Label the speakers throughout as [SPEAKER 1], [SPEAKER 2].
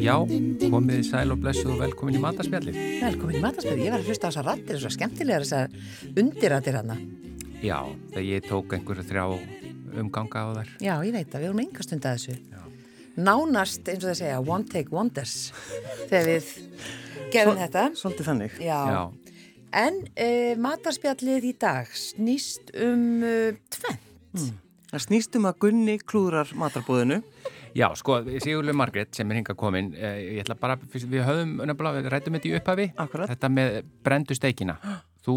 [SPEAKER 1] Já, komið í sæl og blessuð og velkomin í mataspjallið.
[SPEAKER 2] Velkomin í matarspöðu, ég var að hlusta á þessar rattir, þessar skemmtilegar þessar undirrattir hana.
[SPEAKER 1] Já, þegar ég tók einhverju þrjá umganga á þær.
[SPEAKER 2] Já, ég veit að við vorum enga stund að þessu. Nánast, eins og það segja, one take wonders þegar við gefum um þetta.
[SPEAKER 3] Svolítið þannig.
[SPEAKER 2] Já.
[SPEAKER 1] Já,
[SPEAKER 2] En uh, matarspjallið í dag snýst um uh, tvenn.
[SPEAKER 3] Það snýst um að Gunni klúðrar matarbúðinu.
[SPEAKER 1] já sko, Sigurlu Margrét sem er hinga komin, eh, ég ætla bara, fyrst- við höfum, nefnilega, við rættum þetta í upphafi.
[SPEAKER 3] Akkurat.
[SPEAKER 1] Þetta með brendu steikina. Þú,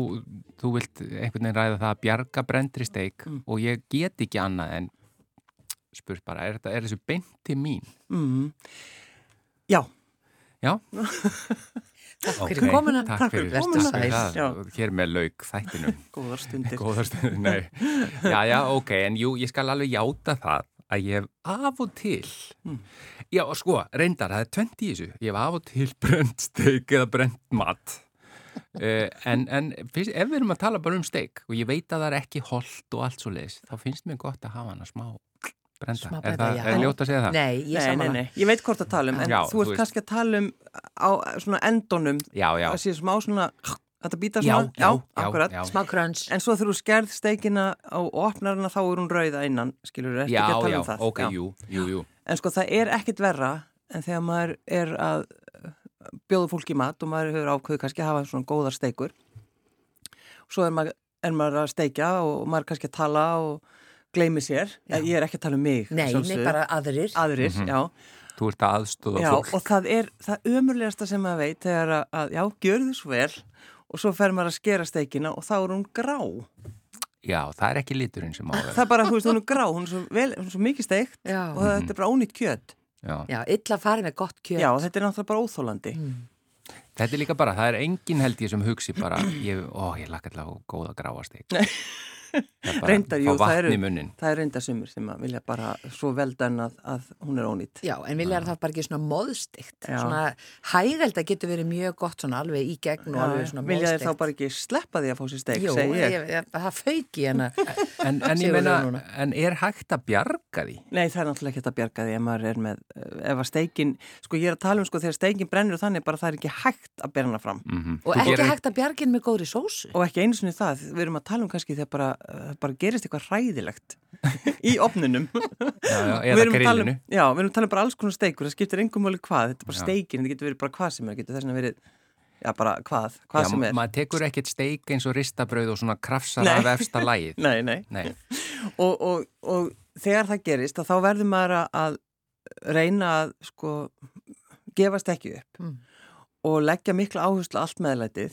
[SPEAKER 1] þú vilt einhvern veginn ræða það að bjarga brendri steik
[SPEAKER 2] Mm.
[SPEAKER 1] og ég get ekki annað en spurt bara, er, þetta, er þessu beint til mín?
[SPEAKER 3] Mm. Já,
[SPEAKER 1] Já,
[SPEAKER 2] Takk
[SPEAKER 1] ok.
[SPEAKER 2] fyrir komuna.
[SPEAKER 1] Takk
[SPEAKER 3] Takk
[SPEAKER 1] fyrir,
[SPEAKER 3] fyrir
[SPEAKER 1] takk
[SPEAKER 2] komuna.
[SPEAKER 1] fyrir það.
[SPEAKER 3] Já.
[SPEAKER 1] Hér með lauk þættinum.
[SPEAKER 3] góðar stundir.
[SPEAKER 1] Góðar stundir, nei. Já, já, ok, en jú, ég skal alveg játa það að ég hef af og til,
[SPEAKER 3] Hmm.
[SPEAKER 1] já, og sko, reyndar, það er 20 í þessu, ég hef af og til brent steik eða brent mat. Uh, en en fyrst, ef við erum að tala bara um steik og ég veit að það er ekki holdt og allt svo leiðis, þá finnst mér gott að hafa hana smá brenda.
[SPEAKER 2] Smá
[SPEAKER 1] er
[SPEAKER 2] brenda,
[SPEAKER 1] það,
[SPEAKER 2] já.
[SPEAKER 1] er ljótt að segja það?
[SPEAKER 2] Nei, ég
[SPEAKER 3] Nei, nei,
[SPEAKER 2] saman
[SPEAKER 3] nei, ég veit hvort að tala um, en
[SPEAKER 1] Já,
[SPEAKER 3] þú
[SPEAKER 1] þú
[SPEAKER 3] ert
[SPEAKER 1] veist.
[SPEAKER 3] kannski að tala um á svona endunum,
[SPEAKER 1] Já, já,
[SPEAKER 3] það sé smá svona, þetta býta
[SPEAKER 1] Já,
[SPEAKER 3] svona,
[SPEAKER 1] já, já,
[SPEAKER 3] akkurat.
[SPEAKER 1] já.
[SPEAKER 2] Smá kröns.
[SPEAKER 3] En svo þegar þú skerð steikina og opnar hana þá er hún rauða innan, skilur þú, ertu
[SPEAKER 1] já,
[SPEAKER 3] ekki að tala
[SPEAKER 1] já,
[SPEAKER 3] um það.
[SPEAKER 1] ok, jú, jú, jú.
[SPEAKER 3] En sko það er ekkit verra en þegar maður er að uh, bjóða fólki í mat og maður hefur ákveðu kannski að hafa svona góðar steikur. Svo er maður, er maður að steikja og maður er kannski að tala og gleymi sér. Ég er ekki að tala um mig.
[SPEAKER 2] Nei,
[SPEAKER 3] að
[SPEAKER 2] nei,
[SPEAKER 3] sjálfsögðu.
[SPEAKER 2] bara aðrir.
[SPEAKER 3] Aðrir, já.
[SPEAKER 1] Þú ert að aðstóða
[SPEAKER 3] Já,
[SPEAKER 1] fólk.
[SPEAKER 3] og það er það ömurlegasta sem maður veit þegar að, að já, gjörðu svo vel og svo fer maður að skera steikina og þá er hún grá.
[SPEAKER 1] Já, það er ekki liturinn sem á það.
[SPEAKER 3] Það er bara, þú veist, hún er grá, hún er svo, vel, hún er svo mikið steikt
[SPEAKER 2] Já.
[SPEAKER 3] og þetta er bara ónýtt kjöt.
[SPEAKER 1] Já.
[SPEAKER 2] Já, illa farið með gott kjöt. Mm.
[SPEAKER 3] Já, þetta er náttúrulega bara óþólandi.
[SPEAKER 1] Þetta er líka bara, það er engin held ég sem hugsi bara, ég, ó, ég lakka alltaf góða gráastík. Nei.
[SPEAKER 3] Reyndar, jú,
[SPEAKER 1] það eru.
[SPEAKER 3] það
[SPEAKER 1] Fá vatn í
[SPEAKER 3] eru,
[SPEAKER 1] munnin.
[SPEAKER 3] það eru reyndar sumir sem að vilja bara svo veldan að, að hún er ónýtt.
[SPEAKER 2] Já, en vilja er það bara ekki svona móðstygt.
[SPEAKER 3] Já.
[SPEAKER 2] Svona hægælda getur verið mjög gott svona alveg í gegn og alveg svona
[SPEAKER 3] vilja
[SPEAKER 2] móðstygt.
[SPEAKER 3] þeir þá bara ekki sleppa því að fá sér steik,
[SPEAKER 2] Jú,
[SPEAKER 3] segi ég.
[SPEAKER 2] ég, ég, það fauk í hana.
[SPEAKER 1] En, en ég
[SPEAKER 2] Sigurður
[SPEAKER 1] meina,
[SPEAKER 2] núna.
[SPEAKER 1] en er hægt að bjarga því?
[SPEAKER 3] Nei, það er náttúrulega ekki hægt að bjarga því ef maður er með, eh, ef að steikin, sko ég er að tala um sko þegar steikin brennur og þannig bara það er ekki hægt að berna fram.
[SPEAKER 1] Mm -hmm.
[SPEAKER 2] Og ekki hægt að bjargin með góðri sósu.
[SPEAKER 3] Og ekki einu sinni það, við erum að tala um kannski þegar bara, eh, bara gerist eitthvað ræðilegt í opninunum.
[SPEAKER 1] Já, já,
[SPEAKER 3] Við
[SPEAKER 1] eða
[SPEAKER 3] erum að tala um-
[SPEAKER 1] grillinu.
[SPEAKER 3] Já, við erum að tala um bara alls konar steikur, það skiptir engum mjög hvað, þetta er bara
[SPEAKER 1] Já.
[SPEAKER 3] steikin, þetta getur verið bara hvað sem er, getur þess að verið, já bara hvað, hvað
[SPEAKER 1] Já,
[SPEAKER 3] sem er.
[SPEAKER 1] maður tekur ekkert steik eins og ristabrauð og svona krafsara
[SPEAKER 3] Nei.
[SPEAKER 1] af efsta lagið.
[SPEAKER 3] Nei, nei.
[SPEAKER 1] Nei,
[SPEAKER 3] Og, og, og þegar það gerist, að þá verður maður að- að reyna að sko gefast ekki upp
[SPEAKER 2] Mm.
[SPEAKER 3] og leggja mikla áherslu á allt meðlætið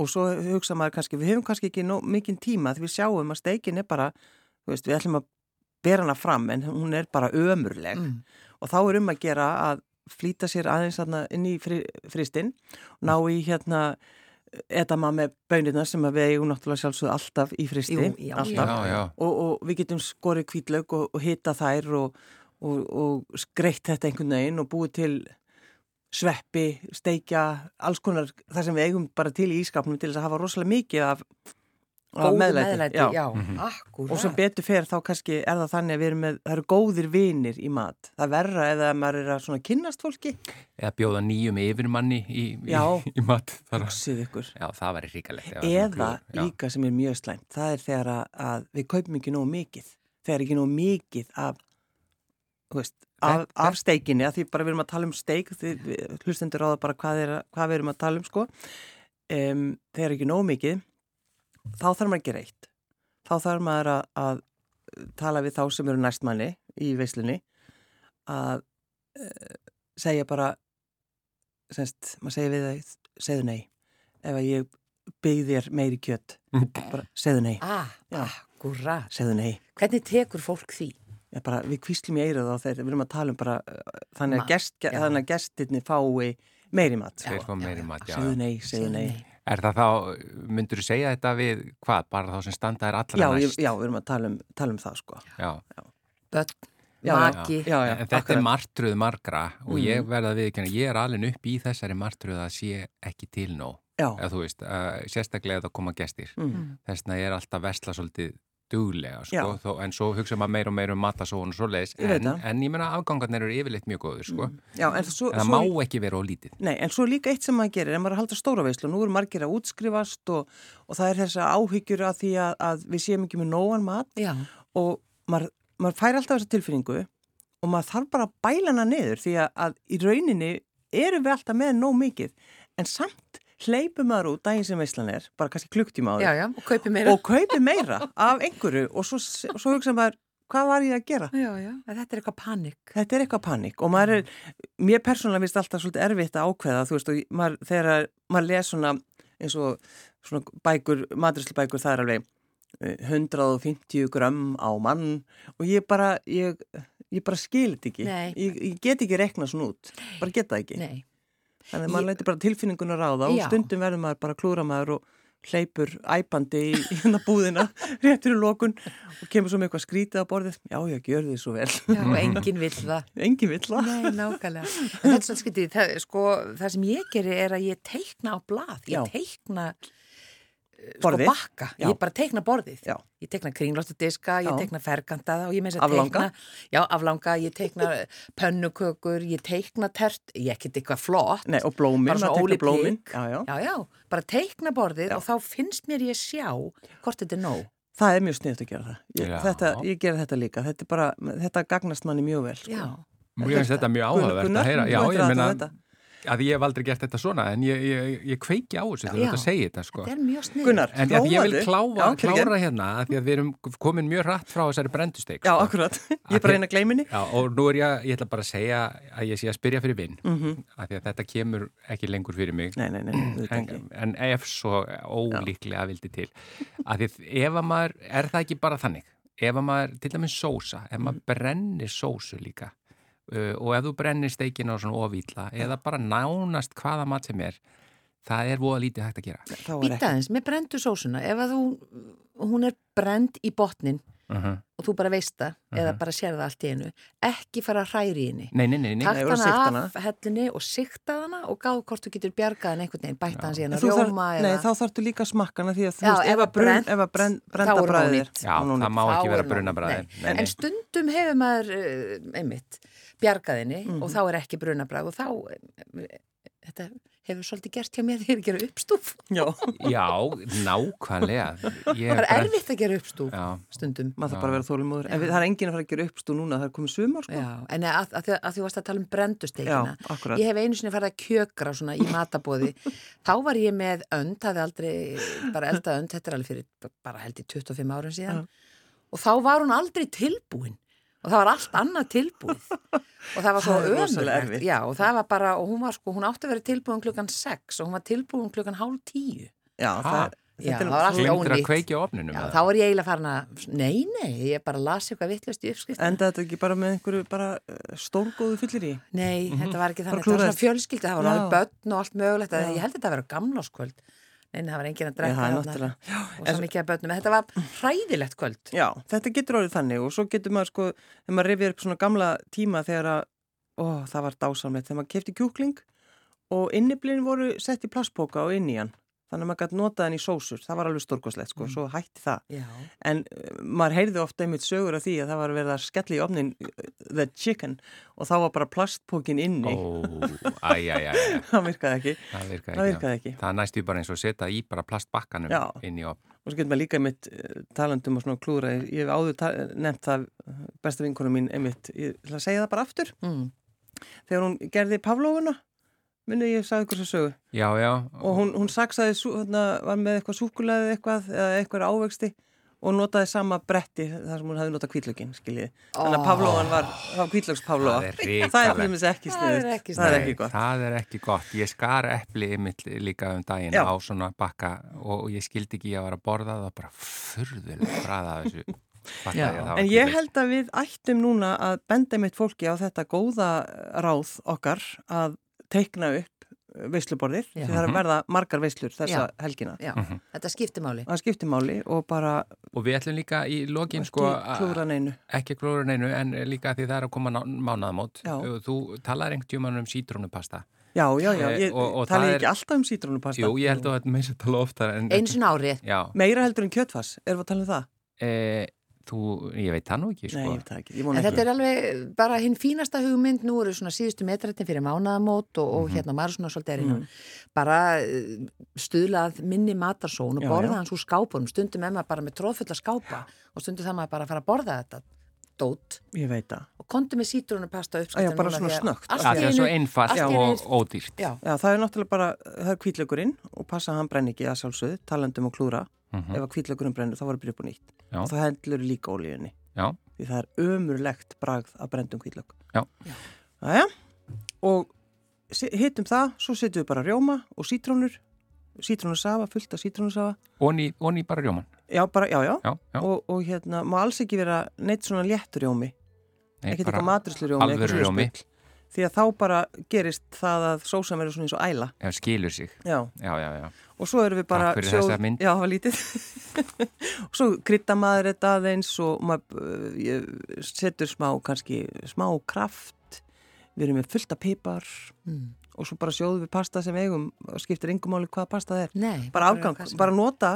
[SPEAKER 3] og svo hugsa maður kannski, við höfum kannski ekki nóg, mikinn tíma því við sjáum að steikin er bara, þú veist, við ætlum að bera hana fram en hún er bara ömurleg
[SPEAKER 2] Mm.
[SPEAKER 3] og þá er um að gera að flýta sér aðeins þarna inn í fri, fristinn, ná í hérna etama með bönirna sem að við eigum náttúrulega sjálfsögðu alltaf í fristi,
[SPEAKER 2] Jú, já,
[SPEAKER 3] alltaf
[SPEAKER 1] já, já.
[SPEAKER 3] og, og við getum skorið kvítlaug og, og hita þær og, og, og skreitt þetta einhvern veginn og búið til sveppi, steikja, alls konar það sem við eigum bara til í ískapnum til þess að hafa rosalega mikið af, af
[SPEAKER 2] Góðu meðlæti, já, já
[SPEAKER 1] Mhm.
[SPEAKER 2] akkurat.
[SPEAKER 3] Og sem betur fer þá kannski er það þannig að við erum með, það eru góðir vinir í mat. Það er verra eða maður er að svona kynnast fólki.
[SPEAKER 1] eða bjóða nýjum yfirmanni í, í,
[SPEAKER 3] Já.
[SPEAKER 1] í mat. Þar. að-
[SPEAKER 3] Hugsið ykkur.
[SPEAKER 1] Já, það væri ríkalegt.
[SPEAKER 3] Eða líka sem er mjög slæmt, það er þegar að, að við kaupum ekki nógu mikið. Þegar er ekki nógu mikið af, þú veist, af,
[SPEAKER 1] Þetta-
[SPEAKER 3] af steikinni, að því bara við erum að tala um steik, því við- hlustendur á það bara hvað, er, að- hvað við erum að tala um, sko. Um, þegar er ekki nógu mikið, þá þarf maður ekki reitt. Þá þarf maður að, að tala við þá sem eru næstmanni í veislunni að uh, segja bara, semst, maður segja við það, segðu nei. Ef að ég byggði þér meiri kjött,
[SPEAKER 1] Mm.
[SPEAKER 3] bara segðu nei,
[SPEAKER 2] Ah,
[SPEAKER 3] Já.
[SPEAKER 2] akkurat.
[SPEAKER 3] segðu nei.
[SPEAKER 2] Hvernig tekur fólk því?
[SPEAKER 3] Ég bara, við kvíslum í eirað á þeir, við erum að tala um bara uh, þannig
[SPEAKER 2] Ma-
[SPEAKER 3] að, gest,
[SPEAKER 2] já.
[SPEAKER 3] þannig að gestirni fái meiri mat.
[SPEAKER 1] Þeir fá meiri mat, já.
[SPEAKER 3] segðu nei, segðu nei.
[SPEAKER 1] Er það þá, myndur þú segja þetta við hvað, bara þá sem standa er allra
[SPEAKER 3] Já, ég,
[SPEAKER 1] næst?
[SPEAKER 3] já, við erum að tala um, tala um það sko.
[SPEAKER 1] já.
[SPEAKER 2] Böt,
[SPEAKER 3] Já,
[SPEAKER 2] maki,
[SPEAKER 3] Já, já,
[SPEAKER 1] En Þetta er
[SPEAKER 3] akkurat. Mm.
[SPEAKER 1] martruð margra og ég verða að viðkjöna, ég er alveg upp í þessari martruð að sé ekki til nóg,
[SPEAKER 3] Já,
[SPEAKER 1] eða þú veist, uh, sérstaklega ef það koma gestir.
[SPEAKER 3] mm,
[SPEAKER 1] Þess vegna ég er alltaf vesla svolítið duglega, sko,
[SPEAKER 3] Já.
[SPEAKER 1] þó, en svo hugsa maður meira og meira um matasóun og svoleiðis,
[SPEAKER 3] Ég veit
[SPEAKER 1] en,
[SPEAKER 3] það.
[SPEAKER 1] en ég menna afgangarnir eru yfirleitt mjög góður, sko.
[SPEAKER 3] já en svo,
[SPEAKER 1] En það
[SPEAKER 3] svo
[SPEAKER 1] má ekki vera ólítið.
[SPEAKER 3] Nei, en svo er líka eitt sem maður gerir, en maður er að halda stóra veislu og nú eru margir að útskrifast og, og það er þessa áhyggjur að því að, að við séum ekki með nógan mat
[SPEAKER 2] já,
[SPEAKER 3] og maður, maður fær alltaf þessa tilfinningu og maður þarf bara að bæla hana niður því að, að í rauninni erum við alltaf með nóg mikið en samt hleypum maður út daginn sem veislan er, bara kannski klukktíma á
[SPEAKER 2] já,
[SPEAKER 3] því
[SPEAKER 2] já, og kaupi meira.
[SPEAKER 3] og kaupi meira af einhverju og svo, svo hugsa maður, hvað var ég að gera?
[SPEAKER 2] Já, já, en þetta er eitthvað panik.
[SPEAKER 3] Þetta er eitthvað panik og maður er, mér persónulega finnst alltaf svolítið erfitt að ákveða, þú veist, og maður, þegar maður les svona, eins og svona bækur, maturislubækur, það er alveg eh, 150 grömm á mann og ég bara, ég, ég bara skil þetta ekki.
[SPEAKER 2] Nei.
[SPEAKER 3] Ég, ég get ekki rekna svona út, bara get það ekki.
[SPEAKER 2] Nei,
[SPEAKER 3] Þannig að maður
[SPEAKER 2] Ég-
[SPEAKER 3] læti bara tilfinningun að ráða og
[SPEAKER 2] Já.
[SPEAKER 3] stundum verður maður bara klúra maður og hleypur æpandi í í hérna búðina réttur í lokun og kemur svo með eitthvað skrítið á borðið. Já, já, gjör þið svo vel.
[SPEAKER 2] já, og enginn vill það.
[SPEAKER 3] Engin vill það.
[SPEAKER 2] Nei, nákvæmlega. En þetta er svolítið skytið, það, sko, það sem ég geri er að ég teikna á blað, ég
[SPEAKER 3] Já.
[SPEAKER 2] teikna eh, sko,
[SPEAKER 3] Borðið.
[SPEAKER 2] bakka,
[SPEAKER 3] Já.
[SPEAKER 2] ég bara teikna borðið.
[SPEAKER 3] Já.
[SPEAKER 2] Ég teikna kringlóttudiska, ég
[SPEAKER 3] Já.
[SPEAKER 2] teikna ferkandaða og ég meins að
[SPEAKER 3] Aflanga.
[SPEAKER 2] teikna, já, aflanga, ég teikna pönnukökur, ég teikna tert, ég ekkert eitthvað flott.
[SPEAKER 3] Nei, og blómin,
[SPEAKER 2] bara svona
[SPEAKER 3] maður
[SPEAKER 2] óli
[SPEAKER 3] tekur blómin.
[SPEAKER 2] pík.
[SPEAKER 3] Já, já.
[SPEAKER 2] Já, já, bara teikna borðið
[SPEAKER 3] Já.
[SPEAKER 2] og þá finnst mér ég sjá hvort þetta er nóg.
[SPEAKER 3] Það er mjög sniðt að gera það. Ég,
[SPEAKER 1] Já.
[SPEAKER 3] þetta, ég gera þetta líka. Þetta, er bara, þetta gagnast manni mjög vel. Sko.
[SPEAKER 2] Já,
[SPEAKER 1] Mér finnst þetta mjög áhugavert
[SPEAKER 3] Gunnar,
[SPEAKER 1] að heyra.
[SPEAKER 3] þú
[SPEAKER 1] Já,
[SPEAKER 3] ættir
[SPEAKER 1] ég
[SPEAKER 3] að
[SPEAKER 1] meina
[SPEAKER 3] þetta.
[SPEAKER 1] að ég hef aldrei gert þetta svona en ég, ég, ég kveiki á þessu þegar
[SPEAKER 2] Já.
[SPEAKER 1] þetta segir þetta sko.
[SPEAKER 2] þetta er mjög snið.
[SPEAKER 3] Gunnar,
[SPEAKER 1] En ég, ég vil
[SPEAKER 3] prófaðu.
[SPEAKER 1] kláfa,
[SPEAKER 3] Já, fyrirgefðu.
[SPEAKER 1] klára hérna af því að við erum komin mjög hratt frá þessari brendusteik.
[SPEAKER 3] Já,
[SPEAKER 1] sko.
[SPEAKER 3] akkurat. Ég er
[SPEAKER 1] Að
[SPEAKER 3] bara eina gleyminni.
[SPEAKER 1] Já, og nú er ég, ég ætla bara að segja að ég sé að spyrja fyrir vinn
[SPEAKER 3] Mm
[SPEAKER 1] af því að þetta kemur ekki lengur fyrir mig
[SPEAKER 3] Nei, nei, nei, nei, þetta
[SPEAKER 1] en,
[SPEAKER 3] Mm. ekki.
[SPEAKER 1] en ef svo ólíklega vildi til að því að ef að maður, er það ekki bara þannig ef að maður, til dæmis sósa ef
[SPEAKER 3] Mhm.
[SPEAKER 1] maður brennir sósu líka uh, og ef þú brennir steikina og svona ofýtla eða bara nánast hvaða mat sem er það er voða lítið hægt að gera
[SPEAKER 3] Þá er ekki.
[SPEAKER 2] Býtaðins, með brendu sósuna, ef að þú, hún er brend í botnin
[SPEAKER 1] uh -huh.
[SPEAKER 2] og þú bara veist það,
[SPEAKER 3] Mhm.
[SPEAKER 2] eða bara sér það allt í einu, ekki fara að hræri í henni.
[SPEAKER 1] Nei, nei, nei, nei
[SPEAKER 2] Takt
[SPEAKER 3] Nei, og sigta
[SPEAKER 2] hana
[SPEAKER 3] hana.
[SPEAKER 2] af hellinni og sikta hana og gáð hvort þú getur bjargað hann einhvern veginn, bætt hann síðan
[SPEAKER 3] En
[SPEAKER 2] að
[SPEAKER 3] þú þarf-
[SPEAKER 2] rjóma
[SPEAKER 3] Nei,
[SPEAKER 2] eða...
[SPEAKER 3] þá þarftu líka smakkana því að þú
[SPEAKER 2] Já,
[SPEAKER 3] veist,
[SPEAKER 2] ef
[SPEAKER 3] ef að
[SPEAKER 2] að
[SPEAKER 3] brun-
[SPEAKER 2] brennt,
[SPEAKER 3] ef að brenn-
[SPEAKER 2] þá
[SPEAKER 3] brenda
[SPEAKER 2] er hún
[SPEAKER 3] bræðir.
[SPEAKER 2] ónýtt.
[SPEAKER 1] Já, það má
[SPEAKER 2] Þá
[SPEAKER 1] ekki
[SPEAKER 2] er
[SPEAKER 1] vera
[SPEAKER 2] nóg.
[SPEAKER 1] brunabræði
[SPEAKER 2] Nei. En stundum hefur maður, eh, einmitt, bjargaðinni og
[SPEAKER 3] Mhm.
[SPEAKER 2] þá er ekki brunabræð og þá, eh, þetta hefur svolítið gert hjá mér þegar ég gera uppstúf.
[SPEAKER 3] Já,
[SPEAKER 1] Já, nákvæmlega Ég
[SPEAKER 2] Það er
[SPEAKER 1] brenn-
[SPEAKER 2] erfitt að gera uppstúf
[SPEAKER 1] Já,
[SPEAKER 2] stundum.
[SPEAKER 3] maður þarf bara að vera þólumóður. En við, það er enginn að fara að gera uppstú núna, það er komið sumar sko.
[SPEAKER 2] Já, en að, að, því- að því varst að tala um brendusteikina.
[SPEAKER 3] Já, akkurat.
[SPEAKER 2] Ég hef einu sinni farið að kjökra svona í matabóði. Þá var ég með önd, hafði aldrei bara eldað önd, þetta er alveg fyrir bara held í 25 árum síðan. Og þá var hún aldrei tilbúin. Og það var allt annað tilbúið. Og það var svo
[SPEAKER 3] Það er rosalega
[SPEAKER 2] ömurlegt.
[SPEAKER 3] erfitt.
[SPEAKER 2] Já, og það var bara, og hún var sko, hún átti að vera tilbúin klukkan 6 og hún var tilbúin klukkan hálf 10.
[SPEAKER 1] Ha?
[SPEAKER 3] Já, það,
[SPEAKER 2] Já,
[SPEAKER 3] þetta er
[SPEAKER 2] það var allt-
[SPEAKER 1] glemtir að
[SPEAKER 2] ónýtt.
[SPEAKER 1] kveiki á opninu
[SPEAKER 2] Já, þá er ég eiginlega farin að, nei, nei, ég bara lasi eitthvað vittlust í uppskrift.
[SPEAKER 3] Enda þetta ekki bara með einhverju bara eh, stórgóðu fyllir í.
[SPEAKER 2] Nei, þetta var ekki þannig, þetta var
[SPEAKER 3] Mhm. Bara
[SPEAKER 2] svona
[SPEAKER 3] klúðraðist.
[SPEAKER 2] fjölskylda, það var
[SPEAKER 3] Já.
[SPEAKER 2] alveg börn og allt mögulegt, að
[SPEAKER 3] Já.
[SPEAKER 2] ég held að þetta að vera gamláskvöld, en það var enginn að
[SPEAKER 3] Nei,
[SPEAKER 2] drekka
[SPEAKER 3] það er
[SPEAKER 2] þarna
[SPEAKER 3] náttúrulega.
[SPEAKER 2] og svo mikið að börnum, en þetta var hræðilegt kvöld.
[SPEAKER 3] Já, þetta getur orðið þannig og svo getur maður sko, þegar maður rifið upp svona gamla tíma þegar að, ó, það var dásamlegt, þegar maður kefti kjúkling og inniblinn voru sett í plastpóka og inn í hann. Þannig að maður gæti notað hann í sósur, það var alveg stórkoslegt
[SPEAKER 1] Mm.
[SPEAKER 3] sko, svo hætti það.
[SPEAKER 2] Já,
[SPEAKER 3] En eh, maður heyrði ofta einmitt sögur af því að það var verið að skella í ofnin eh, the chicken og þá var bara plastpókin inni,
[SPEAKER 1] Ó, æj, æj, æj
[SPEAKER 3] það virkaði ekki.
[SPEAKER 1] Það virkaði ekki,
[SPEAKER 3] Það
[SPEAKER 1] já.
[SPEAKER 3] virkaði ekki.
[SPEAKER 1] Það næstu bara eins og setja í bara plastbakkanum
[SPEAKER 3] Já.
[SPEAKER 1] inn í opn.
[SPEAKER 3] Og svo getur maður líka einmitt eh, talandi um að svona klúra, ég hef áður ta- nefnt það eh, besta vinkunum mín einmitt, ég ætla að segja það bara aftur.
[SPEAKER 2] mm.
[SPEAKER 3] þegar hún gerði Pavlófuna minni ég sagði ykkur svo sögu
[SPEAKER 1] Já, já.
[SPEAKER 3] og hún, hún saksaði, sú- hérna, var með eitthvað súkulegaði eitthvað eða eitthvað ávegsti og notaði sama bretti þar sem hún hefði notað kvítlökin, skiljiði þannig að Pavlófan var, var
[SPEAKER 1] Það
[SPEAKER 3] kvítlöks
[SPEAKER 1] er
[SPEAKER 3] Pavlófa
[SPEAKER 1] hrikalegt.
[SPEAKER 3] það er fyrir mig ekki
[SPEAKER 2] Það er
[SPEAKER 3] sniðið
[SPEAKER 2] ekki
[SPEAKER 3] það er
[SPEAKER 1] Nei,
[SPEAKER 3] ekki gott
[SPEAKER 1] Það er ekki gott. Ég skar epli ymill líka um daginn
[SPEAKER 3] Já.
[SPEAKER 1] á svona bakka og ég skildi ekki að vera að borða það og bara furðulega bræða af þessu. Fattaði
[SPEAKER 2] Já.
[SPEAKER 1] að það var
[SPEAKER 3] En
[SPEAKER 1] ekki
[SPEAKER 3] ég
[SPEAKER 1] best.
[SPEAKER 3] held að við ættum núna að benda mitt fólki á þetta góða ráð okkar að teikna upp uh, veisluborðið,
[SPEAKER 2] Já.
[SPEAKER 3] því það er
[SPEAKER 1] Mhm.
[SPEAKER 3] að verða margar veislur þessa
[SPEAKER 2] Já.
[SPEAKER 3] helgina.
[SPEAKER 2] Já, þetta skiptir máli.
[SPEAKER 3] Það skiptir máli og bara
[SPEAKER 1] Og við ætlum líka í lokin
[SPEAKER 3] sko,
[SPEAKER 1] sko
[SPEAKER 3] klúra neinu.
[SPEAKER 1] ekki klúra neinu en líka því það er að koma ná- mánaðamót.
[SPEAKER 3] Já.
[SPEAKER 1] Þú talaði einhvern tíman um sítrónupasta.
[SPEAKER 3] Já, já, já,
[SPEAKER 1] Eh,
[SPEAKER 3] ég
[SPEAKER 1] og- og
[SPEAKER 3] tali
[SPEAKER 1] það
[SPEAKER 3] ekki
[SPEAKER 1] er-
[SPEAKER 3] alltaf um sítrónupasta.
[SPEAKER 1] Jú, ég held að þetta meins að tala oftar en...
[SPEAKER 2] Einu sinna ári.
[SPEAKER 1] Já,
[SPEAKER 3] Meira heldur en kjötfass, erum við að tala um það?
[SPEAKER 1] e, þú, ég veit það nú ekki
[SPEAKER 3] Nei,
[SPEAKER 1] sko.
[SPEAKER 3] ég veit það ekki, ég vona
[SPEAKER 2] En
[SPEAKER 3] ekki.
[SPEAKER 2] þetta er alveg bara hinn fínasta hugmynd, nú eru svona síðustu metrættin fyrir mánaðamót og,
[SPEAKER 3] Mhm.
[SPEAKER 2] og hérna maður er svona svolítið er innan. Bara eh, stuðlað minni matarsón og
[SPEAKER 3] Já,
[SPEAKER 2] borða
[SPEAKER 3] já.
[SPEAKER 2] hans úr skápunum, stundum er maður bara með tróðfulla skápa og stundum það maður bara að fara að borða þetta dót
[SPEAKER 3] Ég veit það.
[SPEAKER 2] og kontu með sítrónupasta
[SPEAKER 3] Já,
[SPEAKER 2] uppskattin.
[SPEAKER 3] bara svona snöggt. sko.
[SPEAKER 1] Það er svo einfalt
[SPEAKER 2] allt í einu-
[SPEAKER 1] og ódýrt.
[SPEAKER 2] Já,
[SPEAKER 3] Já, það er náttúrulega bara, það er kvítlökurinn og passa að hann brenn ekki að sjálfsögðu, talandum og klúra.
[SPEAKER 1] Mhm.
[SPEAKER 3] Ef að kvítlökurinn brennur, þá var að byrja upp og nýtt.
[SPEAKER 1] Já.
[SPEAKER 3] Og það heldur líka ólíunni.
[SPEAKER 1] Já.
[SPEAKER 3] Því það er ömurlegt bragð að brendum kvítlöku.
[SPEAKER 1] Já.
[SPEAKER 2] Já.
[SPEAKER 3] Jæja, og si- hitum það, svo setjum við bara rjóma og sítrónur, sítrónusafa, fullt af sítrónusafa.
[SPEAKER 1] Onni, onni bara rjóman.
[SPEAKER 3] Já, bara, já, já.
[SPEAKER 1] Já, já.
[SPEAKER 3] Og, og hérna, má alls ekki vera neitt svona léttur rjómi,
[SPEAKER 1] Nei,
[SPEAKER 3] ekkert
[SPEAKER 1] bara-
[SPEAKER 3] eitthvað matrislu rjómi,
[SPEAKER 1] alvöru
[SPEAKER 3] eitthvað
[SPEAKER 1] rjómi.
[SPEAKER 3] spill. Því að þá bara gerist það að sósam eru svona eins og æla.
[SPEAKER 1] Já, skilur sig.
[SPEAKER 3] Já.
[SPEAKER 1] Já, já, já.
[SPEAKER 3] og svo erum við bara
[SPEAKER 1] Takk fyrir
[SPEAKER 3] sjóð-
[SPEAKER 1] þessa mynd.
[SPEAKER 3] já, það var lítið og svo krytta maður þetta aðeins og maður uh, ég setur smá, kannski smá kraft við erum með fullta pipar
[SPEAKER 2] Mm.
[SPEAKER 3] og svo bara sjóðum við pasta sem við eigum og skiptir yngum máli hvað pasta það er
[SPEAKER 2] nei.
[SPEAKER 3] bara afgang,
[SPEAKER 2] hvað sem-
[SPEAKER 3] bara nota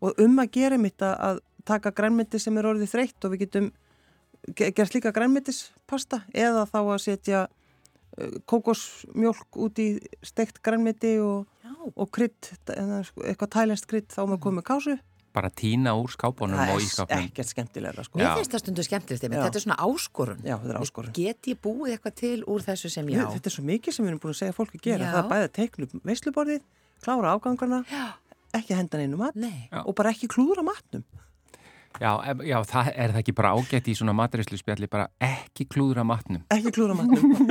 [SPEAKER 3] og um að gera mitt að taka grænmyndi sem er orðið þreytt og við getum ge- gert líka grænmyndispasta eða þá að setja uh, kókosmjólk út í steikt grænmyndi og, og krydd, eða sko, eitthvað tælenskt krydd þá maður komið kásu
[SPEAKER 1] Bara tína úr skápunum
[SPEAKER 3] það
[SPEAKER 1] og í
[SPEAKER 3] er
[SPEAKER 1] skápunum.
[SPEAKER 3] ekkert skemmtilega sko.
[SPEAKER 2] Mér
[SPEAKER 1] Já.
[SPEAKER 2] finnst það stundu skemmtilegt, einmitt.
[SPEAKER 3] Já.
[SPEAKER 2] þetta er svona áskorun.
[SPEAKER 3] já, þetta er áskorun
[SPEAKER 2] Get ég búið eitthvað til úr þessu sem ég á?
[SPEAKER 3] þetta er svo mikið sem við erum búin að segja fólki að gera
[SPEAKER 2] Já.
[SPEAKER 3] það er bæði að teikna upp veisluborðið klára afgangarna,
[SPEAKER 2] Já.
[SPEAKER 3] ekki henda neinu mat
[SPEAKER 2] Nei.
[SPEAKER 1] Já.
[SPEAKER 3] og bara ekki klúðra matnum
[SPEAKER 1] Já, em- já, það er það ekki bara ágætt í svona matrislu spjalli, bara ekki klúðra matnum.
[SPEAKER 3] ekki klúðra matnum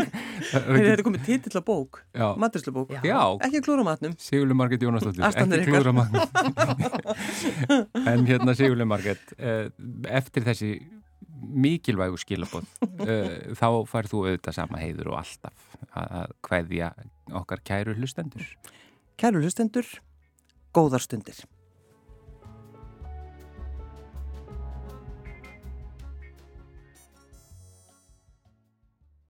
[SPEAKER 3] Þeir eru komið titill á bók,
[SPEAKER 1] Já.
[SPEAKER 3] matrislu bók.
[SPEAKER 1] Já.
[SPEAKER 3] Ekki klúra matnum.
[SPEAKER 1] Sigurlu Marget Jónasdóttir,
[SPEAKER 3] Astanir
[SPEAKER 1] ekki klúðra matnum. en hérna Sigurlu Marget, eh, eftir þessi mikilvægu skilabóð, eh, þá fær þú auðvitað sama heiður og alltaf að að kveðja okkar kæru hlustendur.
[SPEAKER 3] Kæru hlustendur, góðar stundir.